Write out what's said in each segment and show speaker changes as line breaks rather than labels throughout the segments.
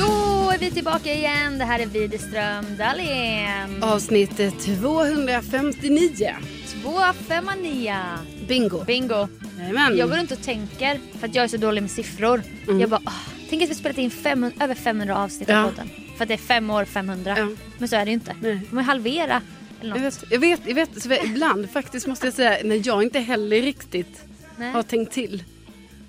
Då är vi tillbaka igen. Det här är Widerström Dahlén.
Avsnitt 259.
259.
Bingo.
Bingo.
Jajamän.
Mm. Jag går runt och tänker, för att jag är så dålig med siffror. Jag bara, åh, tänk att vi spelat in 500, över 500 avsnitt av
Mm. Ja.
podden. För att det är fem år 500.
Ja.
Men så är det ju inte.
Nej.
Man får halvera eller
Jag
något.
vet, jag vet, jag vet så jag- ibland faktiskt måste jag säga när jag inte heller riktigt
Nej.
har tänkt till.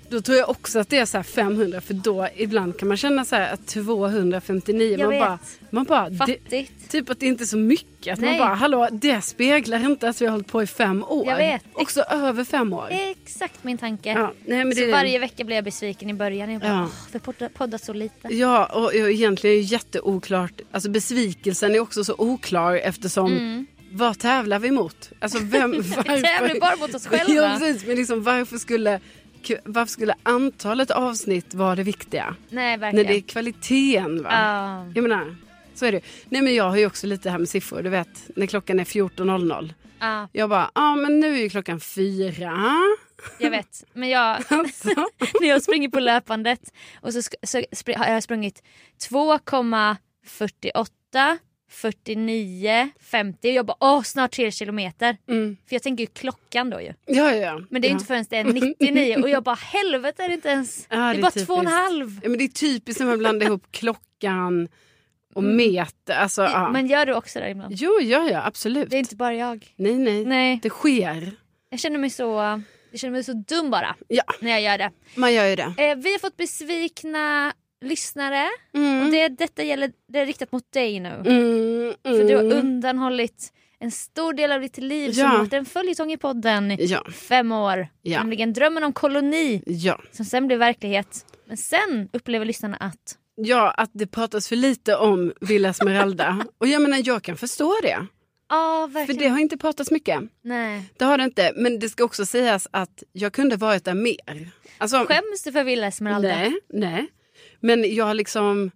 Då tror jag också att det är så här 500 för då ibland kan man känna så här att 259
Jag
man
vet.
bara, man bara det,
Fattigt.
typ att det inte är så mycket att
Nej.
man bara hallå det speglar inte att vi har hållit på i fem år.
Jag vet.
Också över fem år.
Exakt min tanke.
Ja, nej, men det
så
är det.
varje vecka blir jag besviken i början. Jag bara,
Ja.
åh, vi poddar, poddar så lite.
Ja, och och egentligen är det jätteoklart. Alltså besvikelsen är också så oklar eftersom vad tävlar vi mot? Alltså vem, varför?
Mm. tävlar bara mot oss själva.
Ja, precis. Men liksom varför skulle, varför skulle antalet avsnitt vara det viktiga?
Nej,
När
verkligen.
det är kvaliteten va?
Ja.
Jag menar, så är det ju. Nej men jag har ju också lite här med siffror, du vet när klockan är 14.00.
Ja,
Jag bara, ja men nu är ju klockan fyra.
jag vet. Men jag,
Alltså.
när jag springer på löpandet och så, sk- så spr- har jag sprungit 2,48, 49, 50 och jag bara åh snart 3 kilometer.
Mm.
För jag tänker ju klockan då ju.
Ja, ja, ja.
Men det är ju
ja.
inte förrän det är 99 och jag bara helvete är det inte ens.
Ja,
det, är
det är
bara
typiskt.
två och en halv.
Ja, men det är typiskt när man blandar ihop klockan och meter. Alltså, ja.
Mm. Men gör du också det ibland?
Jo, ja, ja, absolut.
Det är inte bara jag.
Nej, nej,
Nej.
Det sker.
Jag känner mig så, jag känner mig så dum bara
Ja,
när jag gör det.
man gör ju det.
Eh, vi har fått besvikna lyssnare.
Mm.
Och det, detta gäller, det är riktat mot dig nu.
Mm, mm.
För du har undanhållit en stor del av ditt liv som
Ja.
har varit en följetong i podden i
Ja,
fem år.
Ja.
Nämligen drömmen om koloni
ja.
som sen blev verklighet. Men sen upplever lyssnarna att
Ja, att det pratas för lite om Villa Esmeralda. och jag menar, jag kan förstå det.
ja
För
verkligen.
det har inte pratats mycket.
Nej.
Det har det inte. Men det ska också sägas att jag kunde varit där mer. Alltså,
Skäms du för Villa Esmeralda?
Nej, nej. Men jag har liksom...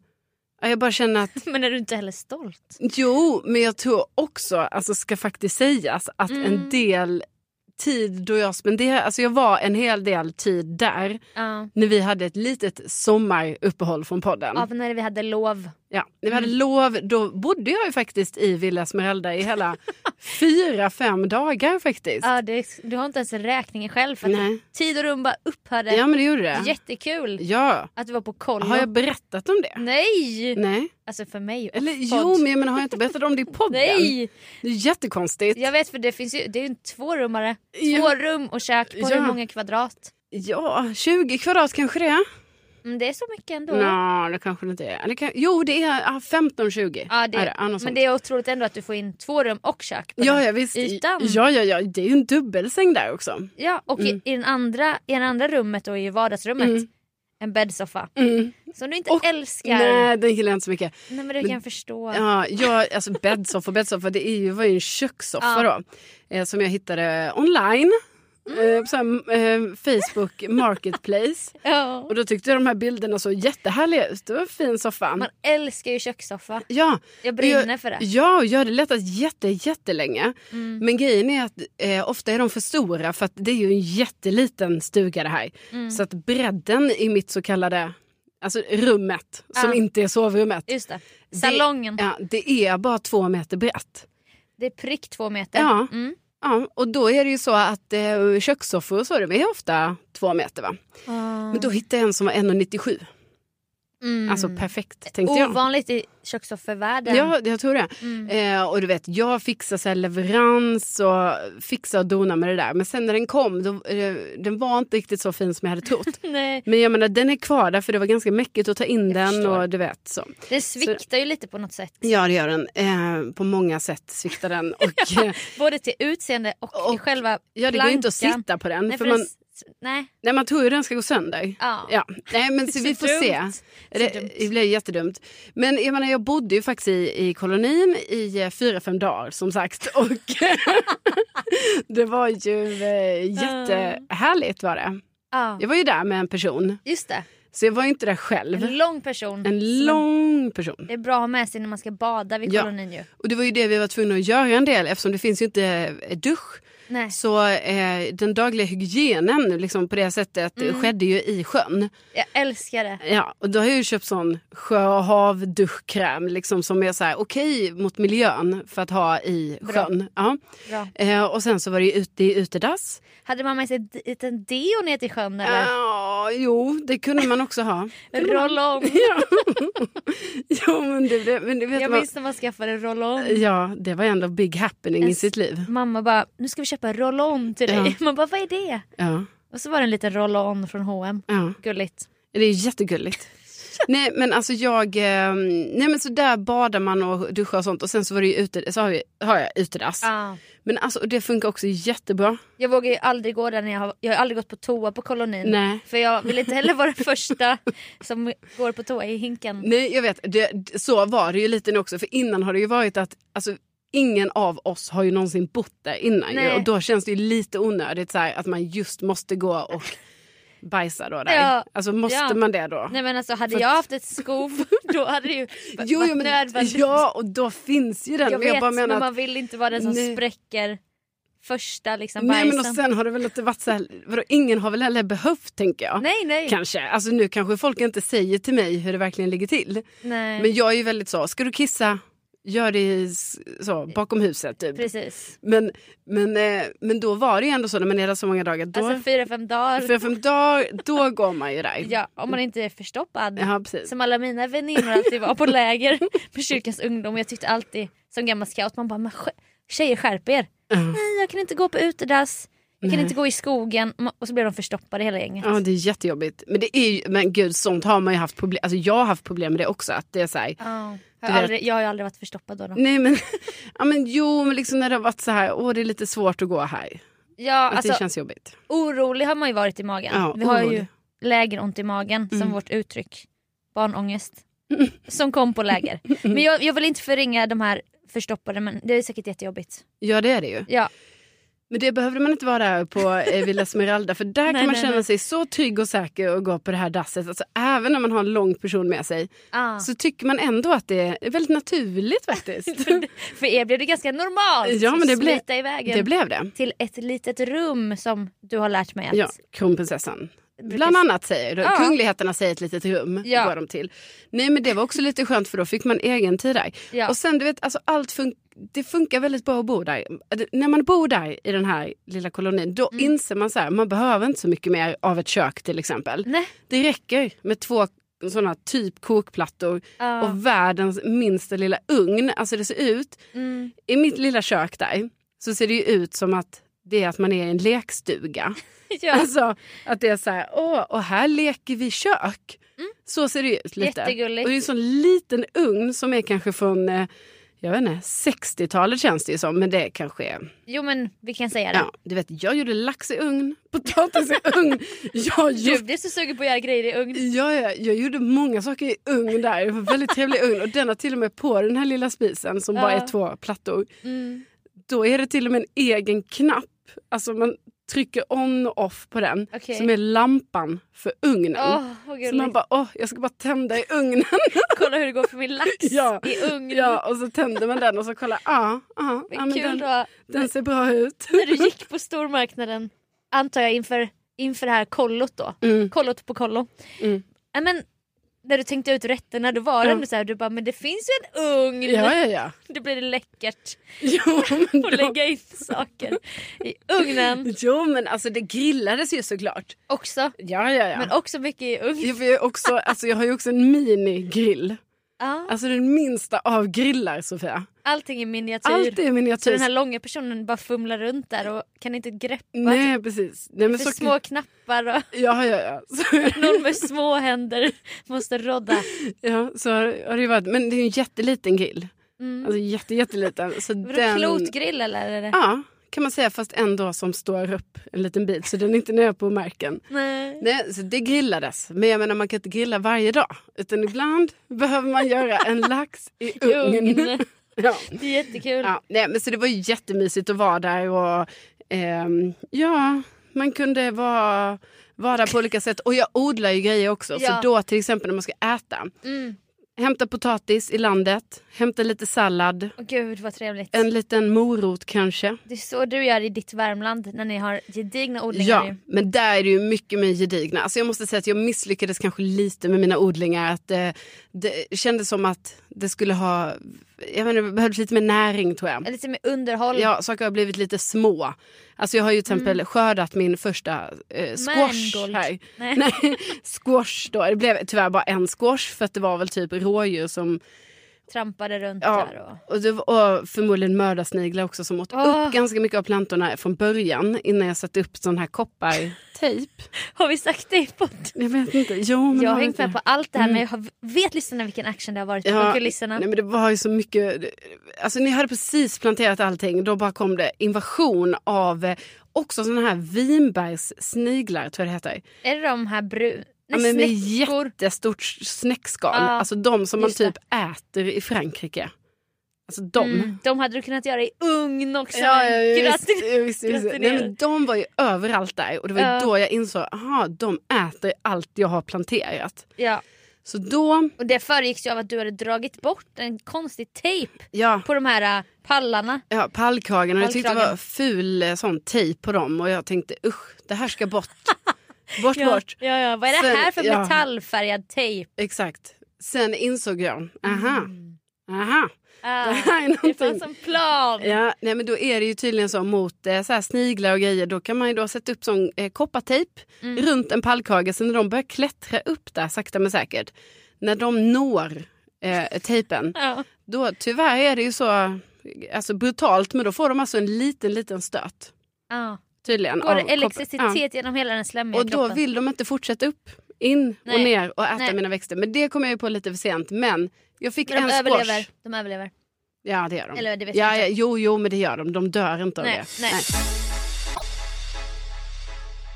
ja, Jag bara känner att
Men är du inte heller stolt?
Jo, men jag tror också, alltså ska faktiskt sägas, att
Mm.
en del tid då jag spenderade, alltså jag var en hel del tid där
Ja.
när vi hade ett litet sommaruppehåll från podden.
Av Mm. när vi hade lov.
Ja, när vi hade lov, då bodde jag ju faktiskt i Villa Esmeralda i hela fyra, fem dagar faktiskt.
Ja, det, du har inte ens räkningen själv för att
Nej.
tid och rum bara upphörde.
Ja, men det gjorde det.
Jättekul
Ja.
att du var på kollo.
Har jag berättat om det?
Nej!
Nej.
Alltså för mig.
Eller
Podd.
jo, men jag menar, har jag inte berättat om det i podden?
Nej!
Det är jättekonstigt.
Jag vet för det finns ju, det är ju en tvårummare. Två
Ja.
rum och kök på
Ja.
hur många kvadrat?
Ja, 20 kvadrat kanske det är.
Mm, det är så mycket ändå.
Nå, det kanske det inte är. Det kan, jo, det är ah, 15-20.
Ja, det,
är det, ah, något
men
sånt.
det är otroligt ändå att du får in två rum och kök på
ja,
den
ja, visst.
ytan.
Ja, ja, ja, det är ju en dubbelsäng där också.
Ja, och
Mm.
i, i, den andra, i den andra rummet då, i vardagsrummet, en bäddsoffa.
Mm.
Som du inte
Och-
älskar. Nej.
Nej, den gillar jag inte så mycket.
men det kan jag förstå.
Ja, jag, alltså bäddsoffa, bäddsoffa, det är ju, var ju en kökssoffa då. Eh, som jag hittade online.
Mm.
Eh, på så här, eh, Facebook Marketplace.
Ja.
Och då tyckte jag de här bilderna såg jättehärliga ut. Det var en fin soffa.
Man älskar ju kökssoffa.
Ja.
Jag brinner för det. Mm.
Ja, och jag har letat jätte, jättelänge. Men grejen är att eh, ofta är de för stora för att det är ju en jätteliten stuga det här.
Mm.
Så att bredden i mitt så kallade alltså rummet, som
Ja.
inte är sovrummet.
Just det. Salongen.
Det, ja, det är bara två meter brett.
Det är prick två meter.
Ja.
Mm.
Ja, och då är det ju så att eh, kökssoffor och så, de är ofta två meter va? Men då hittade jag en som var 1,97.
Mm.
Alltså perfekt tänkte jag.
Ovanligt i kökssoffevärlden.
Ja, jag tror det.
Mm.
Eh, och du vet, jag fixar så här leverans och fixar och donar med det där. Men sen när den kom, då, eh, den var inte riktigt så fin som jag hade trott.
Nej,
Men jag menar, den är kvar där för det var ganska mäckigt att ta in den
förstår.
och du vet så.
den sviktar ju lite på något sätt.
Ja, det gör den. Eh, på många sätt sviktar den. Och, eh,
Både till utseende och, i
Och-
själva
ja, det går ju inte att
plankan.
sitta på den.
Nej,
för
för
man,
det s- nej.
nej, man tror ju den ska gå sönder.
Ja.
Nej, men så
Så
vi får
dumt.
se. Det, det blev jättedumt. Men jag menar, jag bodde ju faktiskt i, i kolonin i eh, fyra, fem dagar som sagt. Och det var ju
Ah.
eh, jättehärligt var det.
Ja,
Jag var ju där med en person.
just det.
Så jag var ju inte där själv.
En lång person.
En lång person.
Det är bra att ha med sig när man ska bada vid
Ja.
kolonin ju.
Och det var ju det vi var tvungna att göra en del eftersom det finns ju inte eh, dusch.
Nej.
Så eh, den dagliga hygienen liksom, på det sättet
Mm.
skedde ju i sjön.
Jag älskar det.
Ja, och då har jag ju köpt sån sjö och hav duschkräm liksom, som är så här okej mot miljön för att ha i sjön. Ja.
Bra.
Eh, och sen så var det ju ute i utedass.
Hade man med sig en liten deo ner till sjön eller?
Ja, jo, det kunde man också ha.
Roll-on.
ja. jo, men det, det, men det vet
Jag
man.
minns när man skaffade roll-on.
Ja, det var ändå big happening i sitt liv.
Mamma bara, nu ska vi köpa roll-on till dig. Man bara, vad är det?
Ja,
Och så var det en liten roll-on från H&M.
ja.
Gulligt.
Det är jättegulligt. nej men alltså jag, eh, nej men så där badar man och duschar och sånt och sen så var det ju ute, så har, vi, har jag utedass.
Ja.
Men alltså och det funkar också jättebra.
Jag vågar ju aldrig gå där när jag har, jag har aldrig gått på toa på kolonin.
Nej.
För jag vill inte heller vara den första som går på toa i hinken.
Nej jag vet, det, så var det ju lite nu också för innan har det ju varit att alltså, ingen av oss har ju någonsin bott där innan ju,
Nej.
och då känns det ju lite onödigt så här, att man just måste gå och bajsa då där.
Ja.
Alltså måste
Ja.
man det då?
Nej men alltså hade jag haft ett skov då hade det ju
Jo,
varit
jo, men,
nödvändigt.
ja och då finns ju den.
jag
men
vet
jag bara menar
men
att-
man vill inte vara den som
Nej.
spräcker första liksom
Nej men och
bajsen.
sen har det väl inte varit så här, vadå, ingen har väl heller behövt tänker jag.
Nej nej.
Kanske, alltså nu kanske folk inte säger till mig hur det verkligen ligger till.
nej.
Men jag är ju väldigt så, ska du kissa, gör det i s- så, bakom huset typ.
Precis.
Men, men, eh, men då var det ju ändå så när man är där så många dagar, då,
Alltså fyra fem dagar.
för fem dagar, då går man ju där.
Ja, om man inte är förstoppad.
Ja, precis.
Som alla mina väninnor alltid var på läger med kyrkans ungdom. Jag tyckte alltid som gammal scout, man bara men, sk- tjejer skärp er. Nej jag kan inte gå på utedass, jag kan inte gå i skogen. Ma- Och så blev de förstoppade hela gänget.
Ja, det är jättejobbigt. Men, det är ju, men gud, sånt har man ju haft problem Alltså jag har haft problem med det också. Att det är så här,
Ja. Jag,
Du
har
vet- Mm.
aldrig, jag har ju aldrig varit förstoppad då. då.
nej men, ja, men jo, men liksom när det har varit så här, åh det är lite svårt att gå här.
Ja,
Att
alltså,
det känns jobbigt.
Orolig har man ju varit i magen.
Ja,
Vi har ju
orolig. Mm.
lägeront i magen som vårt uttryck. Barnångest. Som kom på läger.
Mm.
Men jag, jag vill inte förringa de här förstoppade men det är säkert jättejobbigt.
Ja det är det ju.
Ja.
Men det behövde man inte vara där på eh, Villa Smeralda för där
Nej,
kan man
nej,
känna
nej.
sig så trygg och säker och gå på det här dasset. Alltså, även om man har en lång person med sig
Ah.
så tycker man ändå att det är väldigt naturligt faktiskt.
För er blev det ganska normalt
Ja, men det
att
blev-
smita iväg en
det blev det.
till ett litet rum som du har lärt mig att...
Ja, kronprinsessan. Bland annat säger de.
Ja.
Kungligheterna säger ett litet rum.
Ja.
Går de till. Nej men det var också lite skönt för då fick man egen tid där.
Ja.
Och sen du vet, alltså, allt fun- det funkar väldigt bra att bo där. Det- När man bor där i den här lilla kolonin då
Mm.
inser man så här, man behöver inte så mycket mer av ett kök till exempel.
Nej.
Det räcker med två sådana typ kokplattor
Ja.
och världens minsta lilla ugn. Alltså det ser ut,
Mm.
i mitt lilla kök där så ser det ju ut som att det är att man är i en lekstuga.
Ja.
Alltså att det är så här, åh, och här leker vi kök. Så ser det ut lite.
Mm. Jättegulligt.
Och det är en sån liten ugn som är kanske från eh, jag vet inte, 60-talet känns det ju som. Men det kanske är...
Jo men vi kan säga det.
Ja, du vet, jag gjorde lax i ugn, potatis i ugn. Jag
Du
gjorde
blir så sugen på att göra grejer i ugn.
Ja, ja, jag gjorde många saker i ugn där. Det var en väldigt trevlig ugn. Och denna till och med på den här lilla spisen som bara
Ja. Mm.
är två plattor. Då är det till och med en egen knapp. Alltså man trycker on och off på den.
Okej.
Som är lampan för ugnen.
Åh vad
så
gulligt.
man bara, åh, jag ska bara tända i ugnen.
Kolla hur det går för min lax
Ja.
i ugn.
ja, och så tänder man den och så kollar, ja, ja, ja,
Men
men
kul
den,
då.
den ser bra ut.
När du gick på stormarknaden, antar jag inför, inför det här kollot då.
Mm.
Kollot på kollo.
Mm.
Ja, men, när du tänkte ut rätterna då var det
Ja.
ändå så här, du bara men det finns ju en ugn.
Ja, ja, ja.
Det blir läckert
Jo, men
att
då-
lägga in saker i ugnen
jo, men alltså det grillades ju såklart.
också.
Ja, ja, ja.
Men också mycket i ugn.
Jag, får ju också, alltså jag har ju också en minigrill.
Ja,
Alltså den minsta av grillar, Sofia.
allting i miniatyr.
Allt är
Så
miniatyr.
den här långa personen bara fumlar runt där och kan inte greppa.
Nej, precis. Nej, men
för
så...
små knappar och
Ja, ja, ja. Så,
någon med små händer måste rodda.
ja, så har, har det ju varit. Men det är ju en jätteliten grill.
Mm.
Alltså jätte, jätteliten. Så
Vadå,
den...
Klotgrill eller? Är det?
Ja, kan man säga. Fast ändå som står upp en liten bit. Så den är inte nere på marken.
Nej.
Nej, så det grillades. Men jag menar, man kan inte grilla varje dag. Utan ibland behöver man göra en lax i ugn.
Ugn.
Ja.
Det är jättekul.
Ja, nej, men så det var ju jättemysigt att vara där och ehm, ja, man kunde vara, vara där på olika sätt. Och jag odlar ju grejer också,
Ja.
så då till exempel när man ska äta,
Mm.
hämta potatis i landet, hämta lite sallad,
Åh, gud vad trevligt.
en liten morot kanske.
Det är så du gör i ditt Värmland när ni har gedigna odlingar.
Ja,
ju.
men där är det ju mycket mer gedigna. Alltså jag måste säga att jag misslyckades kanske lite med mina odlingar. Att det, det kändes som att det skulle ha, jag menar, det behövdes lite mer näring tror jag.
Lite med underhåll.
Ja, saker har blivit lite små. Alltså jag har ju till exempel skördat min första eh, squash
Mangold.
här.
Nej.
Nej, squash då. Det blev tyvärr bara en squash för att det var väl typ rådjur som...
Trampade runt
Ja,
där. Och...
och, det, var- och förmodligen mördarsniglar också som åt
Åh.
upp ganska mycket av plantorna från början innan jag satte upp sån här koppartejp.
Har vi sagt det i podden?
jag vet inte. Jo, men
Jag har
har
hängt
inte
med
det? Mm.
på allt det här men jag har, vet lyssnarna vilken action det har varit på kulisserna.
nej, men det var ju så mycket. Alltså ni hade precis planterat allting. Då bara kom det invasion av eh, också såna här vinbergssniglar tror jag det heter.
Är det de här brun...
Ja,
Nej,
men med
snäckor.
jättestort snäckskal.
Ja,
alltså de som man
just det.
typ äter i Frankrike. Alltså de.
Mm, de hade du kunnat göra i ugn också.
Ja, ja, ja,
Grattis.
visst, ja, visst, visst. Nej,
gratulerar.
men de var ju överallt där och det var ju
Ja.
då jag insåg att de äter allt jag har planterat.
Ja.
Så då,
Och det föregicks ju av att du hade dragit bort en konstig tejp
ja,
på de här äh, pallarna.
Ja, pallkragen. Och jag tyckte det
Pallkragen.
var ful eh, sån tejp på dem och jag tänkte usch, det här ska bort. Bort, bort.
Ja, ja. Vad är det
Sen-
här för
ja.
metallfärgad tejp?
Exakt. Sen insåg jag, aha, aha.
Ah,
Det här är
Mm. det
någonting.
fanns en plan.
Ja, nej, men då är det ju tydligen så mot eh, så här sniglar och grejer, då kan man ju då sätta upp sån eh, koppartejp
Mm.
runt en pallkrage. Så när de börjar klättra upp där sakta men säkert, när de når eh, tejpen,
Ja.
då tyvärr är det ju så alltså, brutalt, men då får de alltså en liten, liten stöt.
Ja.
Tydligen.
Går det
av koppar-
elektricitet
Ja.
genom hela den slemmiga
Och då
kroppen?
vill de inte fortsätta upp, in och
Nej.
ner och äta
Nej.
mina växter. Men det kom jag ju på lite för sent. Men jag fick
men de
en
överlever.
squash.
De överlever.
Ja det gör de.
Eller, det vet
ja,
jag
ja,
inte.
jo, jo men det gör de. De dör inte
Nej,
av det.
nej.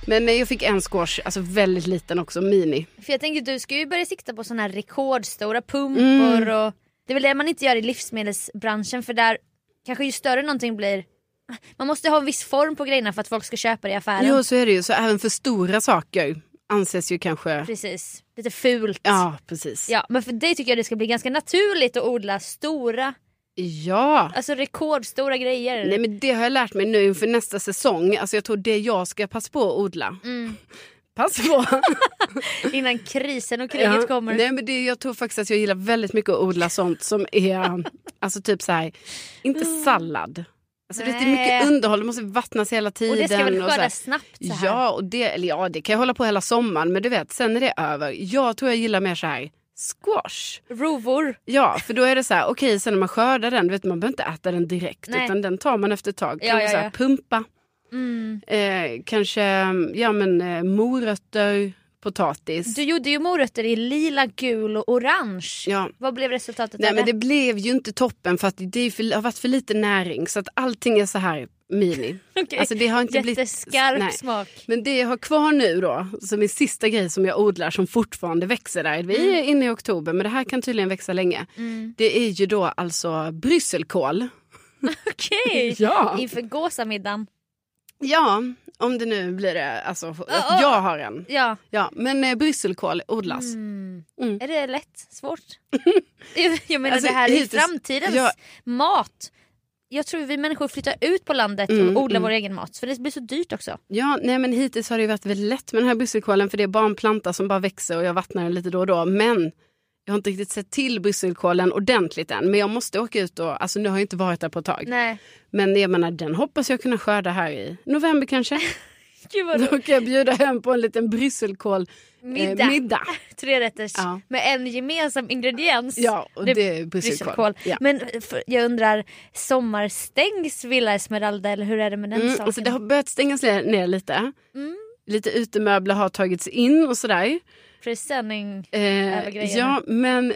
Men nej, jag fick en squash, alltså väldigt liten också, mini.
För jag tänker du ska ju börja sikta på sådana här rekordstora pumpor
Mm.
och det är väl det man inte gör i livsmedelsbranschen för där kanske ju större någonting blir man måste ha en viss form på grejerna för att folk ska köpa det i affären.
Jo så är det ju, så även för stora saker anses ju kanske...
Precis, lite fult.
Ja precis.
Ja, men för dig tycker jag det ska bli ganska naturligt att odla stora,
ja.
alltså rekordstora grejer.
Nej men det har jag lärt mig nu inför nästa säsong. Alltså jag tror det jag ska passa på att odla.
Mm.
Passa på!
Innan krisen och kriget
Ja.
kommer.
Nej, men det, jag tror faktiskt att jag gillar väldigt mycket att odla sånt som är, alltså typ så här, inte sallad. Alltså det är mycket
Mm. Nej.
underhåll, det måste vattnas hela tiden.
och det ska väl
och så här.
skördas snabbt så här.
Ja, och det, eller ja, det kan jag hålla på hela sommaren, men du vet, sen är det över. Jag tror jag gillar mer så här squash.
Rovor.
Ja, för då är det så här, okej, sen när man skördar den, du vet, man behöver inte äta den direkt,
Nej.
utan den tar man efter ett tag.
Ja,
kanske
ja,
så här,
ja.
pumpa,
Mm.
eh, kanske ja, men, eh, morötter, potatis.
Du gjorde ju morötter i lila, gul och orange.
Ja.
Vad blev resultatet
Nej
av
men det blev ju inte toppen för att det är för, har varit för lite näring så att allting är så här mini.
Okej.
Alltså det har inte
Jätteskarp
blivit...
smak.
Men det jag har kvar nu då, som är sista grej som jag odlar som fortfarande växer där. Vi
Mm.
är inne i oktober men det här kan tydligen växa länge. Det är ju då alltså brysselkål.
Okej!
Ja.
Inför gåsamiddagen.
Ja, om det nu blir det. Alltså,
ja.
jag har en.
Ja.
Ja, men eh, brysselkål odlas.
Är det lätt? Svårt? jag menar
Mm. Alltså,
det här är
hittills-
framtidens
ja.
mat. Jag tror vi människor flyttar ut på landet
Mm,
och odlar
mm.
vår egen mat för det blir så dyrt också.
Ja, nej men hittills har det ju varit väldigt lätt med den här brysselkålen för det är bara en planta som bara växer och jag vattnar den lite då och då. Men jag har inte riktigt sett till brysselkålen ordentligt än. Men jag måste åka ut och, alltså nu har jag inte varit där på ett tag.
Nej.
Men jag menar den hoppas jag kunna skörda här i november kanske.
Gud vad
Då
roligt.
kan jag bjuda hem på en liten brysselkål eh,
Middag.
middag.
Tre rätters
Ja.
med en gemensam ingrediens.
Ja, och det, är brysselkål.
Brysselkål.
Ja.
Men eh, för, jag undrar, sommarstängs Villa Esmeralda eller hur är det med den
Mm,
saken?
alltså det har börjat stängas ner, ner lite.
Mm.
Lite utemöbler har tagits in och sådär.
Presenning. Över
Eh,
grejerna.
ja, men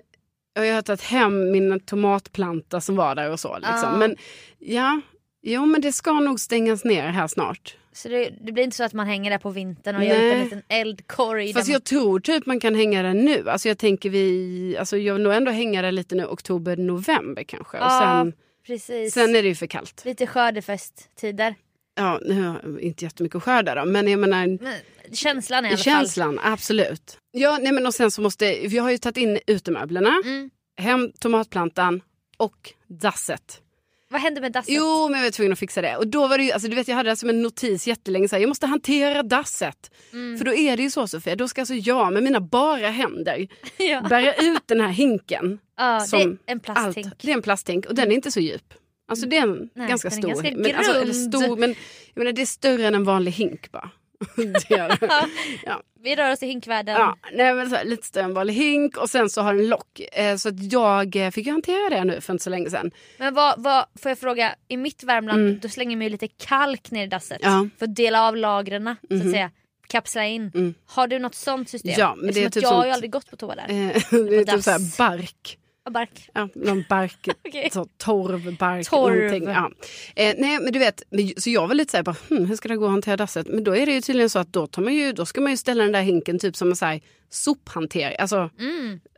jag har tagit hem min tomatplanta som var där och så. Liksom.
Ah.
Men ja, jo men det ska nog stängas ner här snart.
Så det, det blir inte så att man hänger där på vintern och
Nej.
gör upp en liten eldkorg.
Fast
där
jag tror typ man kan hänga den nu. Alltså jag tänker vi, alltså jag vill nog ändå hänga den lite nu, oktober, november kanske. Och
Ja,
sen,
man, Ah, precis.
sen är det ju för kallt.
Lite skördefesttider.
Ja, nu har jag inte jättemycket att skörda då, men jag menar
Men känslan i
I
alla fall.
känslan, absolut. Ja, nej, men och sen så måste, vi har ju tagit in utemöblerna,
Mm.
hem tomatplantan och dasset.
Vad hände med dasset?
Jo, men jag var tvungen att fixa det. Och då var det ju, alltså, du vet, jag hade det som en notis jättelänge, så här, jag måste hantera dasset.
Mm.
För då är det ju så Sofia, då ska alltså jag med mina bara händer
ja.
bära ut den här hinken.
Ja, det är
som
en plasthink. Mm.
Allt. Det är en plasthink och den är inte så djup. Alltså det är en
Nej,
ganska
den är
stor.
ganska
men, alltså, eller
grund.
stor men jag menar, det är större än en vanlig hink bara. det är det. ja.
Vi rör oss i hinkvärlden.
Ja, nej, men så här, lite större än en vanlig hink och sen så har den lock. Eh, så att jag eh, fick ju hantera det nu för inte så länge sedan.
Men vad, vad, får jag fråga, i mitt Värmland då slänger man ju lite kalk ner i dasset.
Mm. Ja. Mhm.
För att dela av lagren så att säga. Kapsla in. Har du något sånt system?
Mm. Ja, men det
Eftersom
är
att
typ
jag har ju
sånt-
aldrig gått på toa där.
Eh, det är typ
dass.
så här bark.
Och bark.
Ja, någon bark,
Okej.
så torv, bark,
Torv.
någonting. Ja. Eh, nej, men du vet, men ju- så jag var lite så här, bara, hm, hur ska det gå att hantera dasset? Men då är det ju tydligen så att då, tar man ju, då ska man ju ställa den där hinken typ som en så här sophantering. Alltså,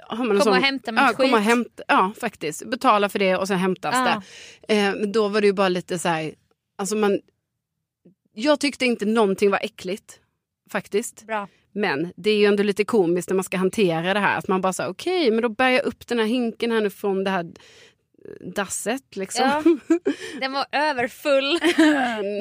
har man en
Mm. Komma
sån-
och hämta mitt
ja, komma och
skit.
hämta, ja, faktiskt. Betala för det och sen hämtas
Ja.
det. Eh, men då var det ju bara lite så här, alltså man, jag tyckte inte någonting var äckligt. Faktiskt.
Bra.
Men det är ju ändå lite komiskt när man ska hantera det här. Att man bara säger okej, men då bär jag upp den här hinken här nu från det här dasset liksom.
Ja. Den var överfull.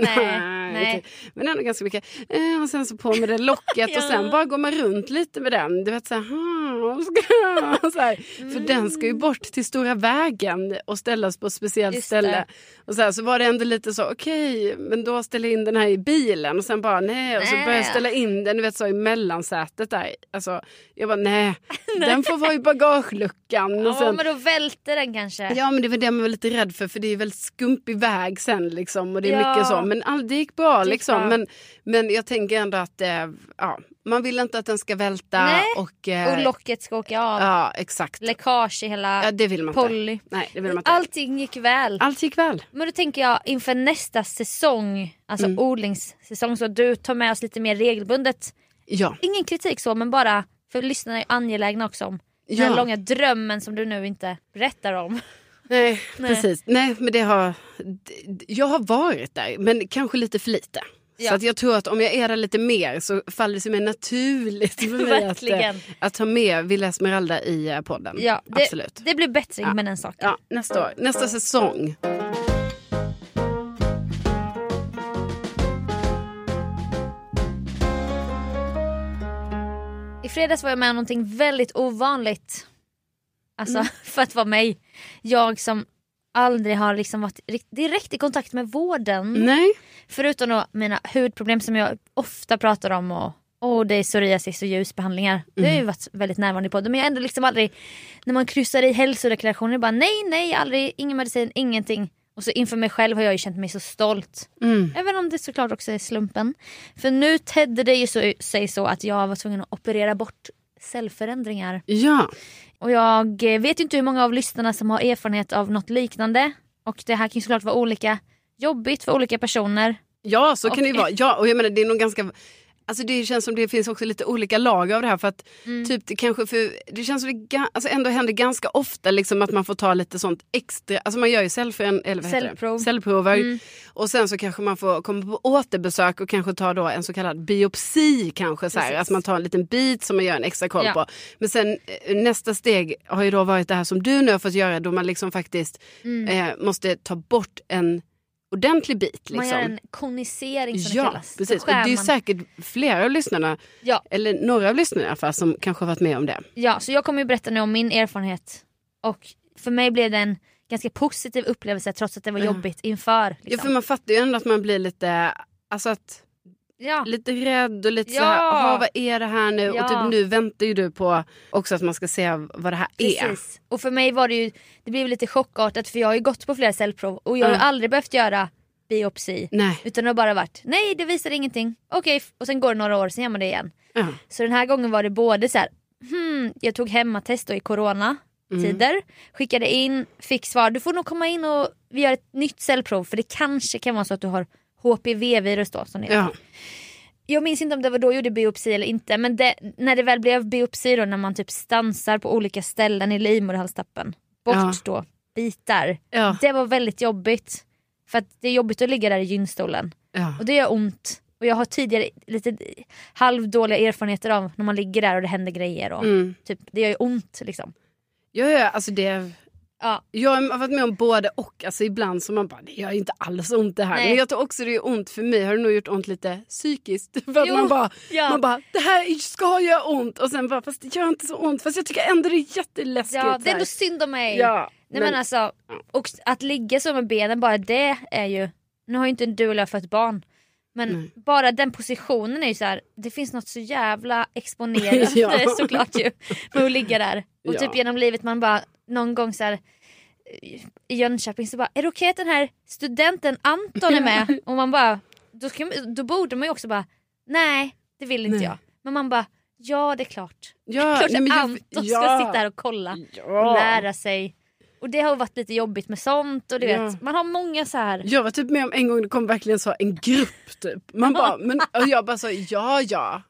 nej, nej.
Men ändå ganska mycket. Eh, och sen så på med det locket och sen
Ja.
bara går man runt lite med den. Du vet så här, "Hmm, vad ska jag?" så här. För den ska ju bort till stora vägen och ställas på ett speciellt
Mm. Just
ställe.
det.
Och så, här, så var det ändå lite så, okej, men då ställer jag in den här i bilen och sen bara nej. Och så
Nej.
börjar jag ställa in den du vet, så i mellansätet där. Alltså, jag bara nej, den får vara i bagageluckan. Och
Ja,
sen,
men då välter den kanske.
Ja men det var det man var lite rädd för för det är väldigt skumpig väg sen liksom och det är
Ja.
mycket så. Men all, det gick bra
gick
liksom.
bra.
Men, men jag tänker ändå att eh, ja, man vill inte att den ska välta
Nej.
och... eh,
Och locket ska åka av.
Ja exakt.
Läckage i hela
Ja, det vill man
Polly.
inte. Nej det vill man inte.
Allting gick väl.
Allt gick väl.
Men då tänker jag inför nästa säsong, alltså
Mm.
odlingssäsong, så att du tar med oss lite mer regelbundet.
Ja.
Ingen kritik så men bara för lyssnarna är angelägna också om den
Ja.
här långa drömmen som du nu inte berättar om.
Nej, precis. Nej men det har... d- d- Jag har varit där men kanske lite för lite.
Ja.
Så att jag tror att om jag är där lite mer så faller det sig mer naturligt för mig att, eh,
Verkligen.
att ta med Villa Esmeralda i eh, podden.
Ja, det,
Absolut.
det blir bättre med den saken.
Ja, nästa år. Nästa säsong.
I fredags var jag med om någonting väldigt ovanligt. Alltså
Mm.
för att vara mig. Jag som aldrig har liksom varit rikt- direkt i kontakt med vården.
Nej.
Förutom då mina hudproblem som jag ofta pratar om och oh, det är psoriasis och ljusbehandlingar. Det har ju varit väldigt närvarande på det. Men jag har ändå liksom aldrig, när man kryssar i hälsodeklarationer, bara nej, nej, aldrig, ingen medicin, ingenting. Och så inför mig själv har jag ju känt mig så stolt. Även om det såklart också är slumpen. För nu tedde det ju så, sig så att jag var tvungen att operera bort cellförändringar.
Ja.
Och jag eh, vet ju inte hur många av lyssnarna som har erfarenhet av något liknande. Och det här kan ju såklart vara olika jobbigt för olika personer.
Ja, så kan det ju
Och-
vara. Ja, och jag menar, det är nog ganska... Alltså det känns som det finns också lite olika lag av det här. För att
Mm.
typ det kanske för, det känns som det ga, alltså ändå händer ganska ofta liksom att man får ta lite sånt extra. Alltså man gör ju cellför, eller vad heter
Cellprov. Mm.
det? cellprover. Och sen så kanske man får komma på återbesök och kanske ta då en så kallad biopsi. kanske så här.
Precis.
Alltså man tar en liten bit som man gör en extra koll
Ja.
på. Men sen eh, nästa steg har ju då varit det här som du nu har fått göra då man liksom faktiskt
Mm.
eh, måste ta bort en ordentlig bit. Liksom.
Man gör en konisering som det
Ja,
kallas. Då
precis. Och
skär
det är
man-
säkert flera av lyssnarna,
ja,
eller några av lyssnarna i alla fall, som kanske har varit med om det.
ja, så jag kommer ju berätta nu om min erfarenhet. Och för mig blev det en ganska positiv upplevelse trots att det var jobbigt inför.
Ja, för
Liksom.
man fattar ju ändå att man blir lite, alltså att,
Ja,
lite rädd och lite så
Ja.
här, "Jaha, vad är det här nu?
Ja.
Och typ nu väntar ju du på också att man ska se vad det här är.
precis. Och för mig var det ju, det blev lite chockartat för jag har ju gått på flera cellprov och jag har ju aldrig behövt göra biopsi.
Nej.
Utan det har bara varit, nej det visar ingenting, okej, f- och sen går det några år, sen gör man det igen.
Ja.
Så den här gången var det både så här, hmm, jag tog hemmatest då i
Mm.
coronatider, skickade in, fick svar, du får nog komma in och vi gör ett nytt cellprov för det kanske kan vara så att du har HPV-virus då som det heter.
Ja.
Jag minns inte om det var då jag gjorde biopsi eller inte men det, när det väl blev biopsi då när man typ stansar på olika ställen i livmoderhalstappen, bort
Ja.
då bitar.
Ja.
Det var väldigt jobbigt. För att det är jobbigt att ligga där i gynstolen.
Ja.
Och det gör ont. Och jag har tidigare lite halvdåliga erfarenheter av när man ligger där och det händer grejer. Och,
Mm.
typ, det gör ju ont liksom.
Ja, ja, alltså det...
Ja.
Jag har varit med om både och. Alltså ibland så man bara, det gör inte alls ont det här.
Nej.
Men jag tror också det är ont för mig. Har det nog gjort ont lite psykiskt. För att
Jo,
man, bara,
ja.
man bara, det här ska göra ont. Och sen bara, fast det gör inte så ont. Fast jag tycker ändå det är jätteläskigt.
Ja, det är
så här.
ändå synd om mig.
Ja,
Nej, men
men-
alltså, och att ligga så med benen, bara det är ju... Nu har ju inte du eller jag fött barn. Men bara den positionen är ju så här, det finns något så jävla exponerat
Ja.
eh, såklart ju. Med att ligga där. Och
Ja.
typ genom livet man bara någon gång så här i- i Jönköping så bara, är det okej att den här studenten Anton är med? Och man bara, då, ska, man- då borde man ju också bara, nej det vill inte
Nej.
jag. Men man bara, ja det är klart.
Ja,
Klart
nej, men jag-
Anton
ja.
ska sitta här och kolla
Ja.
och lära sig. Och det har varit lite jobbigt med sånt och du
Ja.
vet, man har många så här.
Jag var typ med om en gång det kom verkligen så en grupp typ. Man bara, men, och jag bara sa ja ja.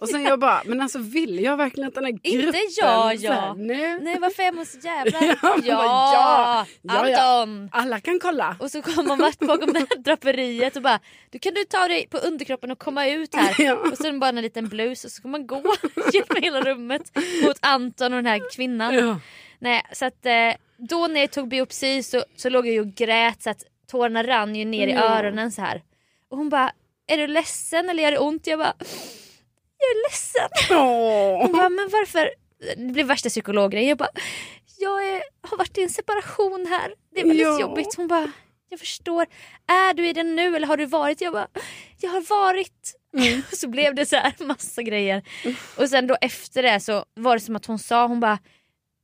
Och sen jag bara, men alltså vill jag verkligen att den här gruppen...
Inte ja,
Så här,
ja.
nej.
Nej varför är man så jävla...
Ja,
Ja,
man bara, ja, ja, ja.
Anton!
Alla kan kolla.
Och så kommer man vart bakom det här draperiet och bara du kan du ta dig på underkroppen och komma ut här.
Ja.
Och sen bara en liten blus och så kommer man gå genom hela rummet mot Anton och den här kvinnan.
Ja.
Nej, så att, eh, då när jag tog biopsi så, så låg jag ju och grät så att tårarna rann ju ner i öronen så här. Och hon bara är du ledsen eller gör det ont? Jag bara jag är ledsen.
Åh.
Hon bara, men varför? Det blev värsta psykologgrejen. Jag bara, jag är, har varit i en separation här. Det är väldigt
Ja.
jobbigt. Hon bara, jag förstår. Är du i den nu eller har du varit? Jag bara, jag har varit. Och så blev det så här massa grejer. Och sen då efter det så var det som att hon sa, hon bara,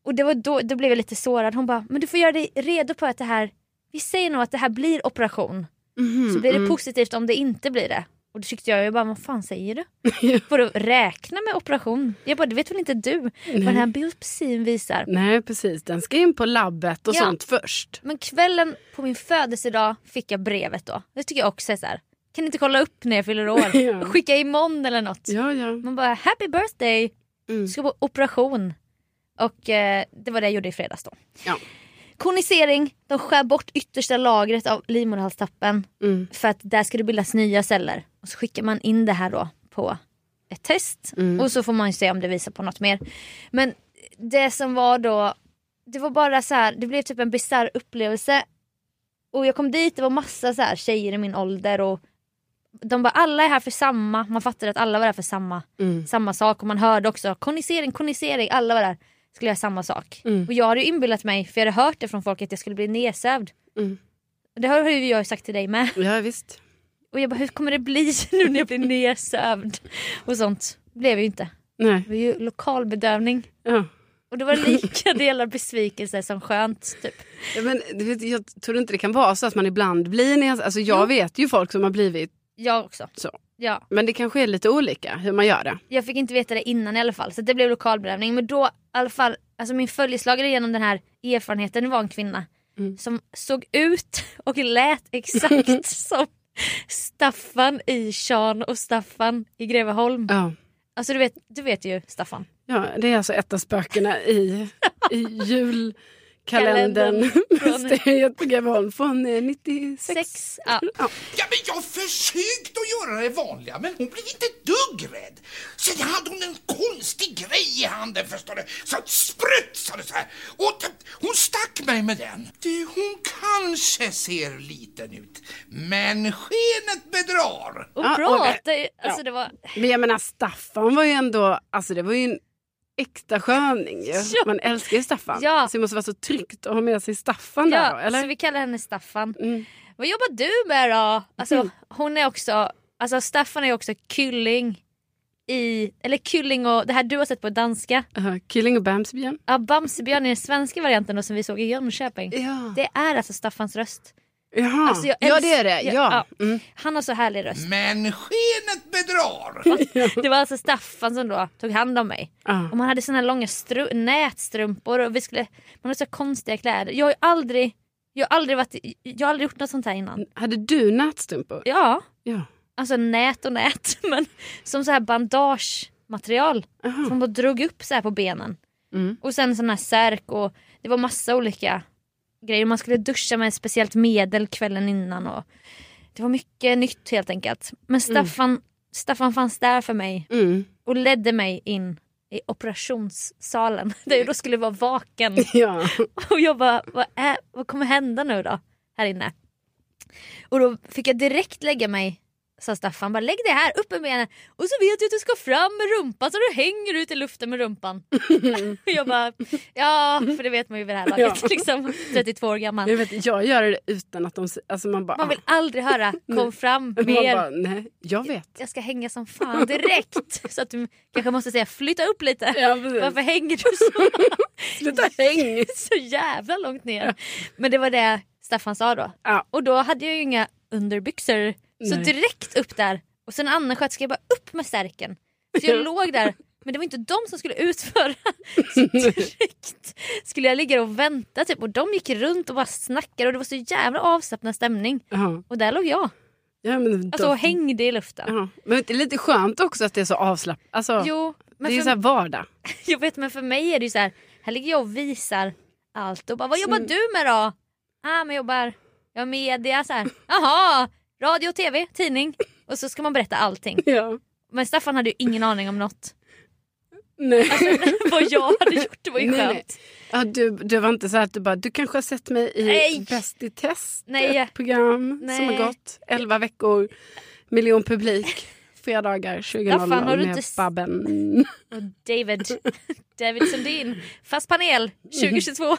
och det var då, då blev jag lite sårad. Hon bara, men du får göra dig redo på att det här, vi säger nog att det här blir operation.
Mhm.
så
Mm,
blir det positivt om det inte blir det. Och då tyckte jag ju bara, vad fan säger du? Vadå räkna med operation? Jag bara, det vet väl inte du vad den här biopsin visar.
Nej precis, den ska in på labbet och
Ja.
sånt först.
Men kvällen på min födelsedag fick jag brevet då. Det tycker jag också är så här. Kan ni inte kolla upp när jag fyller år?
Ja.
Skicka imorgon eller något.
Ja, ja.
Man bara, happy birthday!
Mm.
Ska på operation. Och eh, det var det jag gjorde i fredags då.
Ja.
Konisering, de skär bort yttersta lagret av livmoderhalstappen
Mm.
för att där ska det bildas nya celler. Och så skickar man in det här då på ett test och så får man ju se om det visar på något mer. Men det som var då, det var bara så här, det blev typ en bisarr upplevelse. Och jag kom dit, det var massa så här tjejer i min ålder och de bara alla är här för samma, man fattade att alla var där för samma,
mm.
samma sak och man hörde också konisering, konisering, alla var där skulle göra samma sak. Och jag hade ju inbillat mig, för jag hade hört det från folk att jag skulle bli nedsövd.
Mm.
Det har ju jag sagt till dig med.
ja visst.
Och jag bara hur kommer det bli nu när jag blir nedsövd? Och sånt blev ju inte.
Nej.
Det var ju lokalbedövning.
Ja.
Och då var det lika delar besvikelse som skönt. Typ.
Ja, men, du vet, jag tror inte det kan vara så att man ibland blir en... Alltså, jag vet ju folk som har blivit
Jag också.
så.
Ja.
Men det kanske är lite olika hur man gör det.
Jag fick inte veta det innan i alla fall så det blev lokalbedövning. Men då i alla fall, alltså min följeslagare genom den här erfarenheten var en kvinna som såg ut och lät exakt som Staffan i Sean och Staffan i Greveholm.
Ja.
Alltså du vet, du vet ju Staffan.
Ja, det är alltså ett av spökena i, i julkalendern.
Kalendern från-
Mysteriet på Greveholm från eh, 96.
Sex. Ja.
Ja, men jag försökte att göra det vanliga, men hon blev inte ett dugg rädd. Sen hade hon en konstig grej i handen, förstår du, så att sprutsade så här. Och t- hon stack mig med den. Du, hon kanske ser liten ut, men skenet bedrar.
Och
Ja, och-
pratar ju. Alltså
Ja.
det var...
Men jag menar Staffan var ju ändå, alltså det var ju en äkta sköning ju.
Ja.
Man älskar ju Staffan.
Ja.
Så det måste vara så tryggt att ha med sig Staffan där då,
Ja,
eller? Mm.
så vi kallar henne Staffan. Vad jobbar du med då? Alltså, hon är också, alltså Staffan är också kylling i, eller kylling och det här du har sett på danska.
Ja, Killing och Bamsebjörn.
Ja, Bamsebjörn är den svenska varianten då som vi såg i Jönköping.
Ja.
Det är alltså Staffans röst.
Jaha.
Alltså, jag
ja, det är det.
älsk-
Ja. Mm.
ja. Han har så härlig röst.
Men skenet bedrar.
Det var alltså Staffan som då tog hand om mig.
Ja.
Och man hade såna här långa stru- nätstrumpor och vi skulle, man hade så konstiga kläder. Jag har ju aldrig, jag har aldrig, varit, jag har aldrig gjort något sånt här innan.
Hade du nätstrumpor?
Ja.
Ja.
alltså nät och nät, men som så här bandagematerial.
Aha.
Som bara drog upp så här på benen.
Mm.
Och sen sån här särk och det var massa olika grejer. Man skulle duscha med ett speciellt medel kvällen innan. Och det var mycket nytt helt enkelt. Men Staffan, Staffan fanns där för mig
Mm.
och ledde mig in i operationssalen där jag då skulle vara vaken.
Ja.
Och jag bara, vad, är, vad kommer hända nu då? Här inne. Och då fick jag direkt lägga mig, sa Staffan, bara lägg dig här, upp med benen. Och så vet jag att du ska fram med rumpan så du hänger ut i luften med rumpan. och jag bara, ja för det vet man ju vid det här laget,
Ja.
liksom 32 år gammal.
Jag, vet, jag gör det utan att de... se- Alltså man bara...
Man vill aldrig höra kom fram
ah. man
mer.
bara nej, jag vet.
Jag ska hänga som fan direkt. Så att du kanske måste säga flytta upp lite.
Ja, precis.
Varför hänger du så?
Sluta häng!
så jävla långt ner. Men det var det Staffan sa då.
Ja.
Och då hade jag ju inga underbyxor. Så
Nej.
direkt upp där. Och sen en annan sköterska jag bara upp med stärken. Så jag låg där. Men det var inte de som skulle utföra. Så direkt skulle jag ligga och vänta typ. Och de gick runt och bara snackade och det var så jävla avslappnad stämning.
Ja.
Och där låg jag.
Ja, men
Alltså
då-
och hängde i luften.
Ja. Men det är lite skönt också att det är så avslappnat. Alltså,
Jo,
det är
men
ju
för,
så här vardag.
jag vet men för mig är det ju så här. Här ligger jag och visar allt och bara vad
Mm.
jobbar du med då? Ah men jag jobbar, jag är media så här. Jaha, radio, tv, tidning. Och så ska man berätta allting.
Ja.
Men Staffan hade ju ingen aning om något.
Nej.
Vad jag hade gjort Alltså, det var ju
Nej, nej.
skönt.
Ja, du, du var inte så här att du bara, du kanske har sett mig i
Nej.
Bäst i test,
Nej.
ett program som
Nej.
har gått 11 veckor, miljon publik, fredagar
Staffan, har
20.00
du
med
inte s-
Babben.
Och David, David Sundin, fast panel 2022.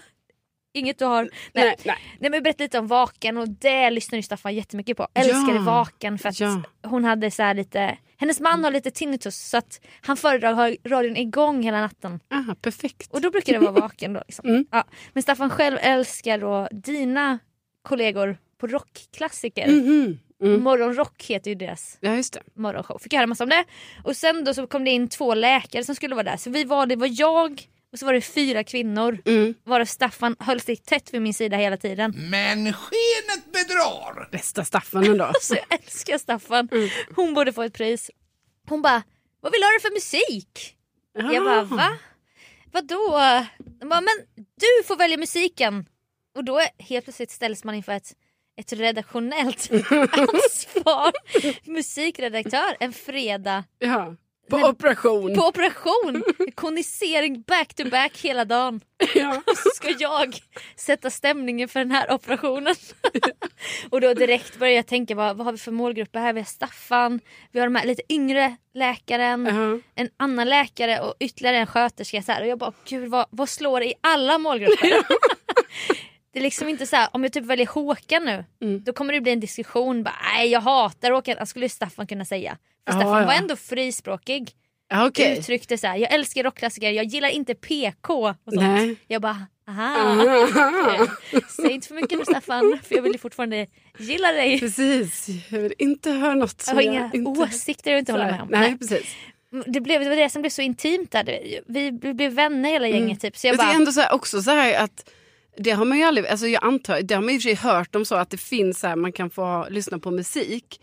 Inget du har. Nej.
Mm. Nej,
Nej.
nej.
men berätta lite om Vaken och det lyssnar ju Staffan jättemycket på. Älskade
Ja.
Vaken för att
Ja.
hon hade så här lite, hennes man har lite tinnitus så att han föredrar att ha radion igång hela natten.
Aha, perfekt.
Och då brukar det vara Vaken då. Liksom.
Mm.
Ja. Men Staffan själv älskar då dina kollegor på rockklassiker.
Mhm. Mm.
Morgonrock heter ju deras
Ja, just det.
morgonshow. Fick jag höra massa om det. Och sen då så kom det in två läkare som skulle vara där. Så vi var, det var jag och så var det fyra kvinnor.
Mm.
Varav Staffan höll sig tätt vid min sida hela tiden.
Men skenet bedrar.
Bästa Staffan ändå.
Så jag älskar Staffan. Hon borde få ett pris. Hon bara, vad vill du ha det för musik? Jag bara, va? Vadå? Hon bara, men du får välja musiken. Och då är, helt plötsligt ställs man inför ett, ett redaktionellt ansvar. Musikredaktör en fredag
Ja. På operation.
på operation, konisering back to back hela dagen.
Ja.
Och så ska jag sätta stämningen för den här operationen. och då direkt börjar jag tänka vad, vad har vi för målgrupper här? Vi har Staffan, vi har de här lite yngre läkaren,
Ja.
en annan läkare och ytterligare en sköterska. Så här. Och jag bara gud vad, vad slår det i alla målgrupper? Det är liksom inte så här, om jag typ väljer Håkan nu,
Mm.
då kommer det bli en diskussion. Bara, Nej jag hatar Håkan, skulle ju Alltså, Staffan kunna säga. För
Ja,
Staffan
ja.
var ändå frispråkig.
Ja, okej.
uttryckte så här, jag älskar rockklassiker, jag gillar inte PK och sånt.
Nej.
Jag bara, aha.
Ah,
Säg inte för mycket nu Staffan, för jag vill ju fortfarande gilla dig.
Precis, jag vill inte höra något
Jag
som
har inga
inte...
åsikter jag inte håller med om.
Nej, precis.
Det, blev, det var det som blev så intimt där. Vi blev vänner hela gänget typ. Så jag
Men det är
bara,
Mm. Alltså, ändå så här, också så här att det har man ju aldrig, alltså jag antar, det har man i och för sig hört om så att det finns så här, man kan få ha- lyssna på musik.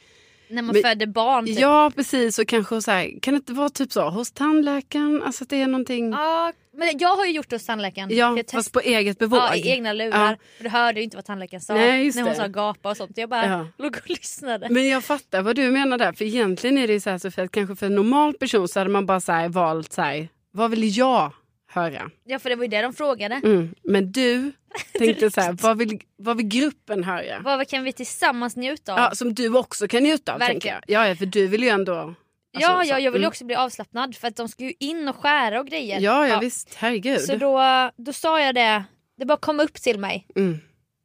när man
men-
föder barn typ.
Ja precis och kanske så här, kan det inte vara typ så hos tandläkaren, alltså att det är någonting,
Ja, men jag har ju gjort det hos tandläkaren.
ja
jag
fast
test-
på eget bevåg.
ja, i egna lurar.
Ja.
För du hörde ju inte vad tandläkaren sa.
Nej, just
när hon
det.
sa gapa och sånt. Jag bara
Ja.
låg och lyssnade.
Men jag fattar vad du menar där, för egentligen är det ju så här Sofia, att kanske för en normal person så hade man bara så här, valt så här, vad vill jag höra?
Ja för det var ju det de frågade.
Mm. Men du tänkte så här, vad vill, vad vill gruppen höra?
Vad, vad kan vi tillsammans njuta av?
Ja, som du också kan njuta av
Verkligen.
tänker jag. Ja, ja, för du vill ju ändå... alltså,
ja,
så-
ja, jag vill ju
mm.
också bli avslappnad för att de ska ju in och skära och grejer.
Ja, ja, visst. Herregud.
Så då, då sa jag det, det bara kom upp till mig.
Mm.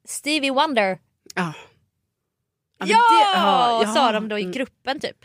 Stevie Wonder.
Ja. men
Ja!
det- ja, ja.
Sa de då i
Mm.
gruppen typ.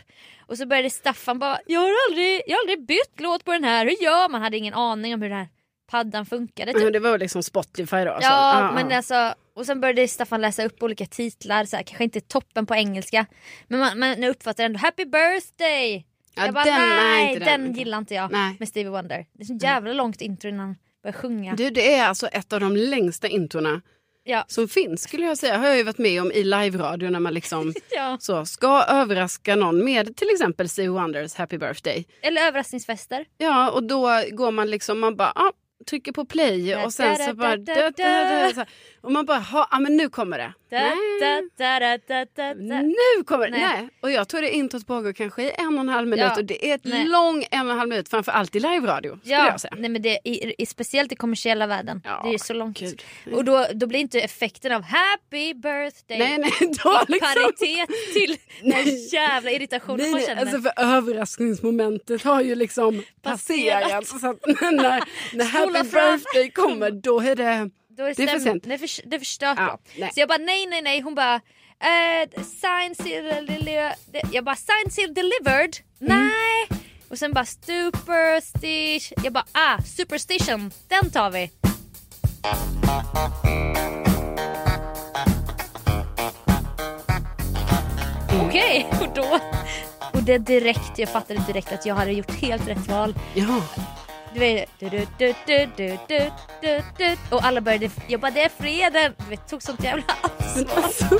Och så började Staffan bara, jag har aldrig, jag har aldrig bytt låt på den här, hur gör man? Hade ingen aning om hur den här paddan funkade typ.
Men det var ju liksom Spotify då. alltså.
Ja, men alltså, och sen började Staffan läsa upp olika titlar, så här, kanske inte toppen på engelska. Men man, man uppfattar ändå happy birthday.
Ja,
jag bara
den- nej,
nej,
inte
den,
den.
gillar inte jag
Nej. Mm.
med Stevie Wonder. Det är så jävla långt intro innan han börjar sjunga.
Du, det är alltså ett av de längsta introna
Ja.
som finns skulle jag säga. Har jag ju varit med om i live-radio när man liksom
Ja.
så ska överraska någon med till exempel Stevie Wonders Happy Birthday.
Eller överraskningsfester.
Ja, och då går man liksom, man bara ah, trycker på play och sen så bara... Da, da, da, så här. Och man bara, ha, ah, men nu kommer det.
Da, da,
Nej.
da, da, da, da, da.
Nu kommer det!
Nej.
Nej. Och jag tror det introt pågår kanske i en och en halv minut
Ja.
och det är ett
Nej.
lång en och en halv minut framförallt i live-radio skulle
Ja,
jag säga.
nej men det, i, i, speciellt i kommersiella världen.
Ja,
det är ju så långt.
gud.
Och då, då blir inte effekten av happy birthday
Nej, nej, då
i
liksom.
paritet till den jävla irritationen
Nej,
man
nej,
känner.
alltså för överraskningsmomentet har ju liksom
Passerat.
passerat. Så att när, när
Spola
Happy
fram.
birthday kommer då är det...
Då är
Det är för
stäm-
sent.
Det är, för, det är förstört
Ja,
då.
nej.
Så jag bara nej, nej, nej. Hon bara eh, sign seal deli- de- Jag bara sign seal delivered.
Mm.
Nej. Och sen bara superstition. Jag bara ah, superstition. Den tar vi. Okej, och då. Och det är direkt, jag fattade direkt att jag hade gjort helt rätt val.
Ja.
Du vet, du, du, du, du, du, du, du, du. Och alla började jobba, det är fredag. Du vet, tog sånt jävla
Men
ansvar.
alltså,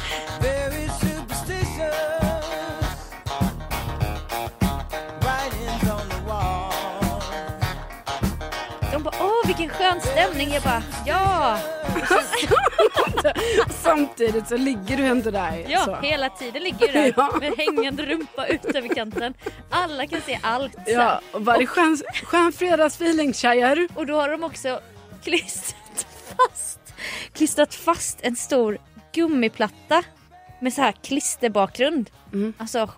De bara, åh vilken skön stämning. Jag bara, ja,
samtidigt så ligger du ändå där.
ja.
så.
Hela tiden ligger ju där
Ja.
med hängande rumpa ut över kanten. Alla kan se allt. så här.
ja och var det skön, skön fredagsfeeling tjejer?
Och då har de också klistrat fast, klistrat fast en stor gummiplatta med så här klisterbakgrund. Alltså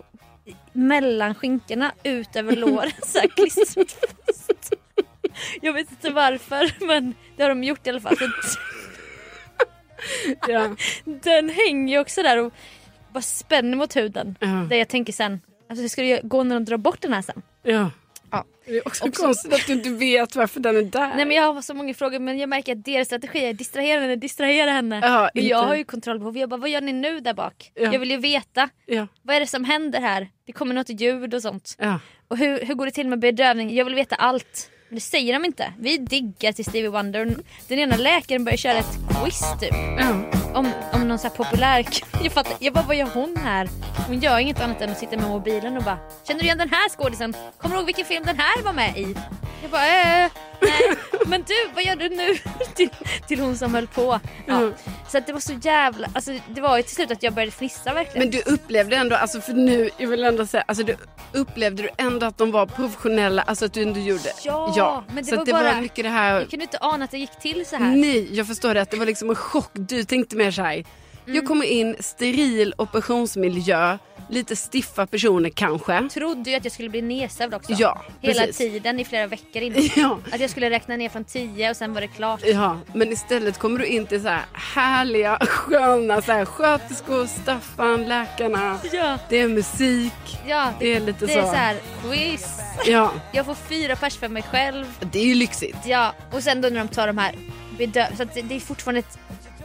i- mellan skinkorna, ut över låren så här klistrat fast. Jag vet inte varför men det har de gjort i alla fall. Så d-
Ja.
den hänger ju också där och bara spänner mot huden.
Ja.
Där jag tänker sen, alltså hur ska det gå när de drar bort den här sen?
ja.
Ja.
Det är också, konstigt att du inte vet varför den är där.
Nej men jag har så många frågor men jag märker att deras strategi är distrahera henne, distrahera henne.
Ja,
men
inte-
jag har ju kontrollbehov. Jag bara, vad gör ni nu där bak?
Ja.
Jag vill ju veta.
ja.
Vad är det som händer här? Det kommer något ljud och sånt.
Ja.
Och hur, hur går det till med bedövning? Jag vill veta allt. Men det säger de inte. Vi diggar till Stevie Wonder. Den ena läkaren börjar köra ett quiz typ.
Ja.
Om, om någon så här populär... Jag fattar. Jag bara, vad gör hon här? Hon gör inget annat än att sitta med mobilen och bara, känner du igen den här skådisen? Kommer du ihåg vilken film den här var med i? Jag bara, eh, nej. Men du, vad gör du nu? till, till hon som höll på. Ja.
Mm.
Så att det var så jävla... Alltså det var ju till slut att jag började fnissa verkligen.
Men du upplevde ändå, alltså för nu, jag vill ändå säga, alltså du, upplevde du ändå att de var professionella, alltså att du ändå gjorde?
Ja, men det
så
var
att det
bara-
var mycket det här,
Jag kunde inte ana att det gick till så här.
nej jag förstår det, att det var liksom en chock, du tänkte mer såhär,
Mm.
jag kommer in, steril operationsmiljö, lite stiffa personer kanske.
Trodde ju att jag skulle bli nedsövd också.
Ja,
Hela
precis.
tiden i flera veckor innan.
Ja.
Att jag skulle räkna ner från 10 och sen var det klart.
Ja, men istället kommer du in till så här härliga, sköna så här, sköterskor, Staffan, läkarna.
Ja.
Det är musik.
Ja,
Det är lite
det
så.
är så här, quiz.
Ja,
Jag får fyra pers för mig själv.
det är ju lyxigt.
Ja, och sen då när de tar de här bedö- så att det, det är fortfarande ett...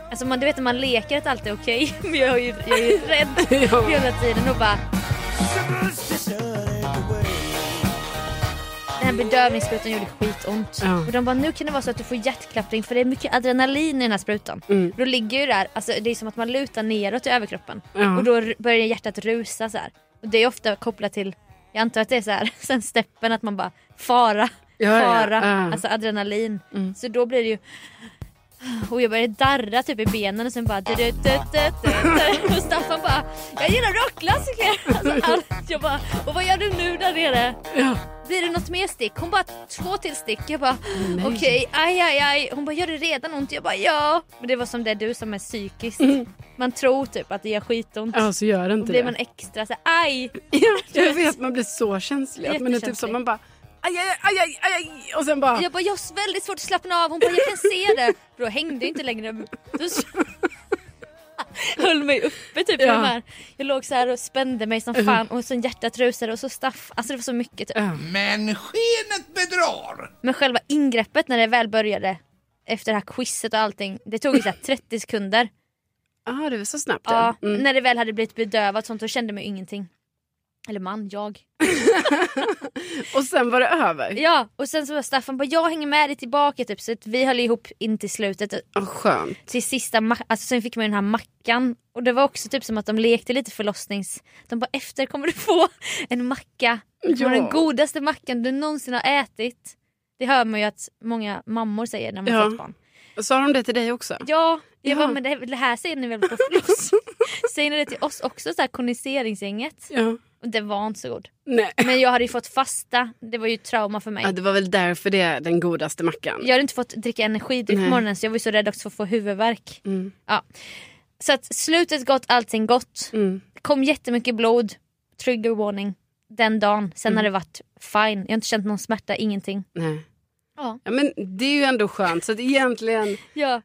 Alltså man, du vet när man leker att allt är okej men jag är ju, jag är ju rädd hela tiden och bara... Den här bedövningssprutan gjorde skitont.
Ja.
Och de bara, nu kan det vara så att du får hjärtklappning för det är mycket adrenalin i den här sprutan.
Mm.
Då ligger ju där, alltså det är som att man lutar neråt i överkroppen.
Ja.
Och då r- börjar hjärtat rusa så här. Och det är ofta kopplat till, jag antar att det är så här, sen steppen att man bara, fara,
Ja, ja, Ah. Mm.
fara.
ja.
Alltså adrenalin. Så då blir det ju och jag började darra typ i benen och sen bara... Du, du, du, du, du, du. Och Staffan bara... Jag gillar rockklassiker! Alltså, allt. Jag bara... Och vad gör du nu där nere? Blir det något mer stick? Hon bara två till stick. Jag bara okej, aj aj aj. Hon bara gör det redan ont? Jag bara ja. Men det var som det du som är psykiskt. Man tror typ att det gör skitont.
Mm. Ja, så gör det
Då
inte
blir
det.
man extra så här, aj.
Ja, jag vet, man blir så känslig. Att man är typ
Jättekänslig.
som man bara aj, aj, aj, aj, aj, aj, och sen bara...
Jag bara jag har väldigt svårt att slappna av. Hon bara jag kan se det. För då hängde jag inte längre. Då så- höll mig uppe typ. i
Ja. Uh-huh.
De här. Jag låg så här och spände mig som fan och så hjärtat rusade och så staff. Alltså det var så mycket typ.
Men skenet bedrar.
Men själva ingreppet när det väl började efter det här quizet och allting. Det tog ju så här 30 sekunder.
Ja, ah, det var så snabbt.
Ja,
Ja. Mm.
När det väl hade blivit bedövat sånt då kände man ju ingenting. Eller man, jag.
Och sen var det över.
Ja och sen så var Staffan bara jag hänger med dig tillbaka typ så att vi höll ihop in till slutet
Ja, skönt.
till sista ma- alltså sen fick man ju den här mackan och det var också typ som att de lekte lite förlossnings... De bara efter kommer du få en macka. Det var
Ja.
den godaste mackan du någonsin har ätit. Det hör man ju att många mammor säger när man
Ja.
fått barn.
Och Sa de det till dig också?
Ja, jag
Ja.
Bara, men det, det här säger ni väl på förloss? säger ni det till oss också så här kondenseringsgänget?
Ja.
Och det var inte så god.
Nej.
Men jag hade ju fått fasta, det var ju trauma för mig.
Ja, det var väl därför det är den godaste mackan.
Jag hade inte fått dricka energidryck på
Nej. Mm.
morgonen så jag var ju så rädd också för att få huvudvärk. Ja. Så att slutet gott, allting gott.
Mm.
Kom jättemycket blod, trigger warning, den dagen.
Mm.
Sen har det varit fine. Jag har inte känt någon smärta, ingenting.
Nej.
Ja.
Ja, men det är ju ändå skönt. Så att egentligen,
Ja.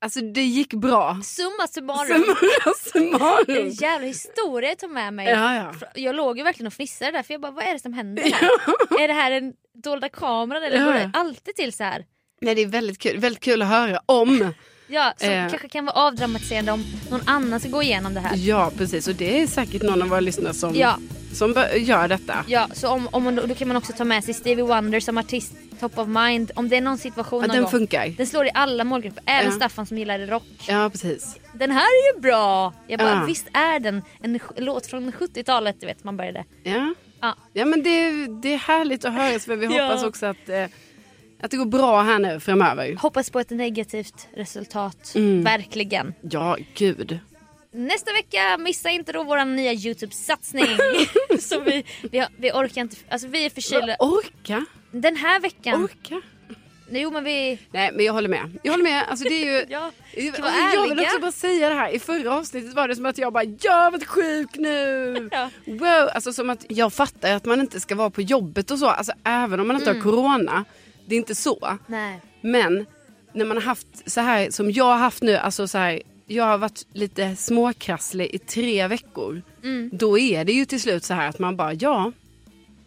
alltså det gick bra.
Summa summarum.
Summara
Det är en
summarum.
jävla historia jag tar med mig.
Ja, ja.
Jag låg ju verkligen och fnissade där för jag bara vad är det som händer här? Är det här en dolda kameran eller
Ja.
går det alltid till så här?
Nej, det är väldigt kul. Väldigt kul att höra om.
Ja, som
Eh.
kanske kan vara avdramatiserande om någon annan ska gå igenom det här.
Ja, precis. Och det är säkert någon av våra lyssnare som,
Ja.
som bör- gör detta.
Ja, så om, om man, då kan man också ta med sig Stevie Wonder som artist, top of mind. Om det är någon situation
Att
någon
den
gång.
funkar.
Den slår i alla målgrupper, även
Ja.
Staffan som gillade rock.
Ja, precis.
Den här är ju bra! Jag bara,
Ja.
visst är den en sj- låt från 70-talet, du vet man började.
Ja,
Ja.
ja men det, det är härligt att höra. Så vi
Ja.
hoppas också att, eh, att det går bra här nu framöver.
Hoppas på ett negativt resultat,
Mm.
verkligen.
Ja, gud.
Nästa vecka, missa inte då vår nya Youtube-satsning. som vi, vi, har- vi orkar inte, alltså vi är förkylda.
Orka,
Den här veckan,
orka.
jo men vi,
Nej, men jag håller med. Jag håller med. Alltså, det är ju...
ja, vi kan vara
Jag vill
ärliga.
också bara säga det här, i förra avsnittet var det som att jag bara jag varit sjuk nu.
Ja.
Wow, alltså som att jag fattar att man inte ska vara på jobbet och så, alltså även om man inte har corona. Det är inte så.
Nej.
Men när man har haft så här som jag har haft nu, alltså så här, jag har varit lite småkrasslig i tre veckor. Då är det ju till slut så här att man bara, ja,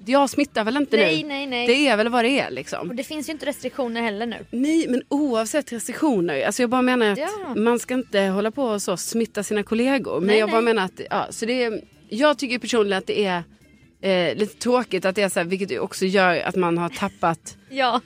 jag smittar väl inte
Nej,
nu.
nej, nej.
Det är väl vad det är liksom.
Och det finns ju inte restriktioner heller nu.
Nej, men oavsett restriktioner. Alltså jag bara menar att
Ja.
man ska inte hålla på och så smitta sina kollegor. Men
Nej,
jag bara
nej.
menar att, ja, så det är, jag tycker personligen att det är eh, lite tråkigt att det är så här, vilket ju också gör att man har tappat,
Ja.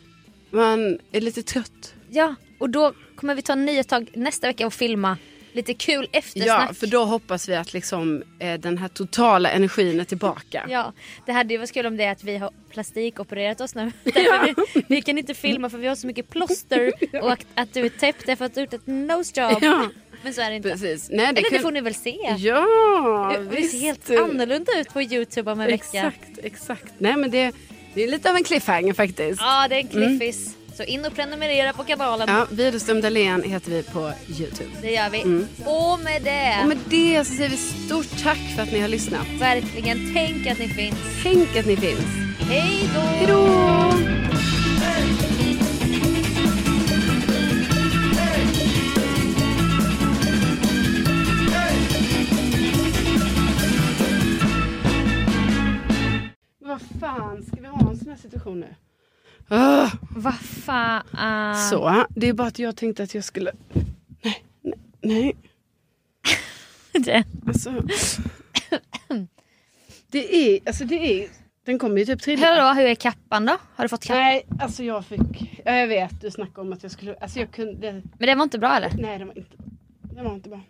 man är lite trött.
ja. Och då kommer vi ta nya tag nästa vecka och filma lite kul eftersnack.
Ja, för då hoppas vi att liksom eh, den här totala energin är tillbaka.
Ja, det hade ju varit kul om det är att vi har plastikopererat oss nu. Därför vi, vi kan inte filma för vi har så mycket plåster och att, att du är täppt därför att du har gjort ett nosejob.
Ja.
Men så är det inte.
Precis. Nej, det
Eller det
kan-
får ni väl se.
Ja,
vi ser
visst.
helt annorlunda ut på Youtube om en vecka.
Exakt, exakt. Nej men det, det är lite av en cliffhanger faktiskt.
Ja, det är en cliffis. Så in och prenumerera på kanalen.
Mm. Ja, Widerström Dahlén heter vi på Youtube.
Det gör vi. Och med det,
Mm. Och med det så säger vi stort tack för att ni har lyssnat.
verkligen tänk att ni finns.
Tänk att ni finns.
Hej då!
Hej då! Vad fan konversation nu. Ah,
Vad fan.
Så, det är bara att jag tänkte att jag skulle... Nej, nej, nej.
Det.
Alltså. Det är, alltså det är... Den kommer ju typ trilla.
Hallå, hur är kappan då? Har du fått kappan?
Nej, alltså jag fick... Ja, jag vet, du snackade om att jag skulle... Alltså jag kunde...
Men det var inte bra eller?
Nej, det var inte, det var inte bra.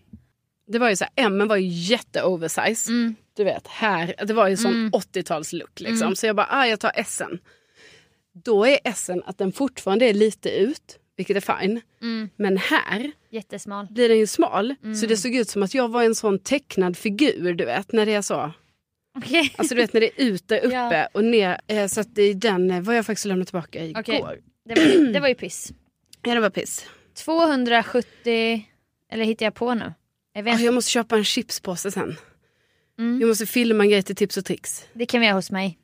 Det var ju så här, Emmen var ju jätte-oversize.
Mm.
Du vet, här. Det var ju sån 80-tals-look liksom. Så jag bara, ah, jag tar S'en. Då är S'en att den fortfarande är lite ut, vilket är fine.
Mm.
Men här
Jättesmal.
blir den ju smal.
Mm.
Så det såg ut som att jag var en sån tecknad figur, du vet, när det är så.
Okej.
Alltså du vet när det är ut där uppe
Ja.
och ner. Eh, så att det är den eh, var jag faktiskt lämnat tillbaka igår.
Okej. Det, var, det var ju piss.
Ja, det var piss.
270, eller hittar jag på nu? Jag vet,
Ah, jag måste köpa en chipspåse sen.
Mm.
Jag måste filma en grej till tips och tricks.
Det kan vi göra hos mig.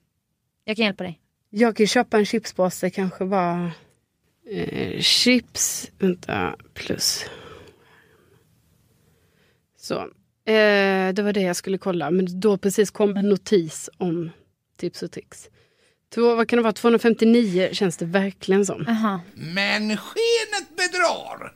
Jag kan hjälpa dig.
Jag kan ju köpa en chipspåse, kanske bara eh, chips, vänta, plus. Så, eh, det var det jag skulle kolla. Men då precis kom en notis om tips och tricks. Två, vad kan det vara, 259 känns det verkligen som.
Aha.
Men skenet bedrar.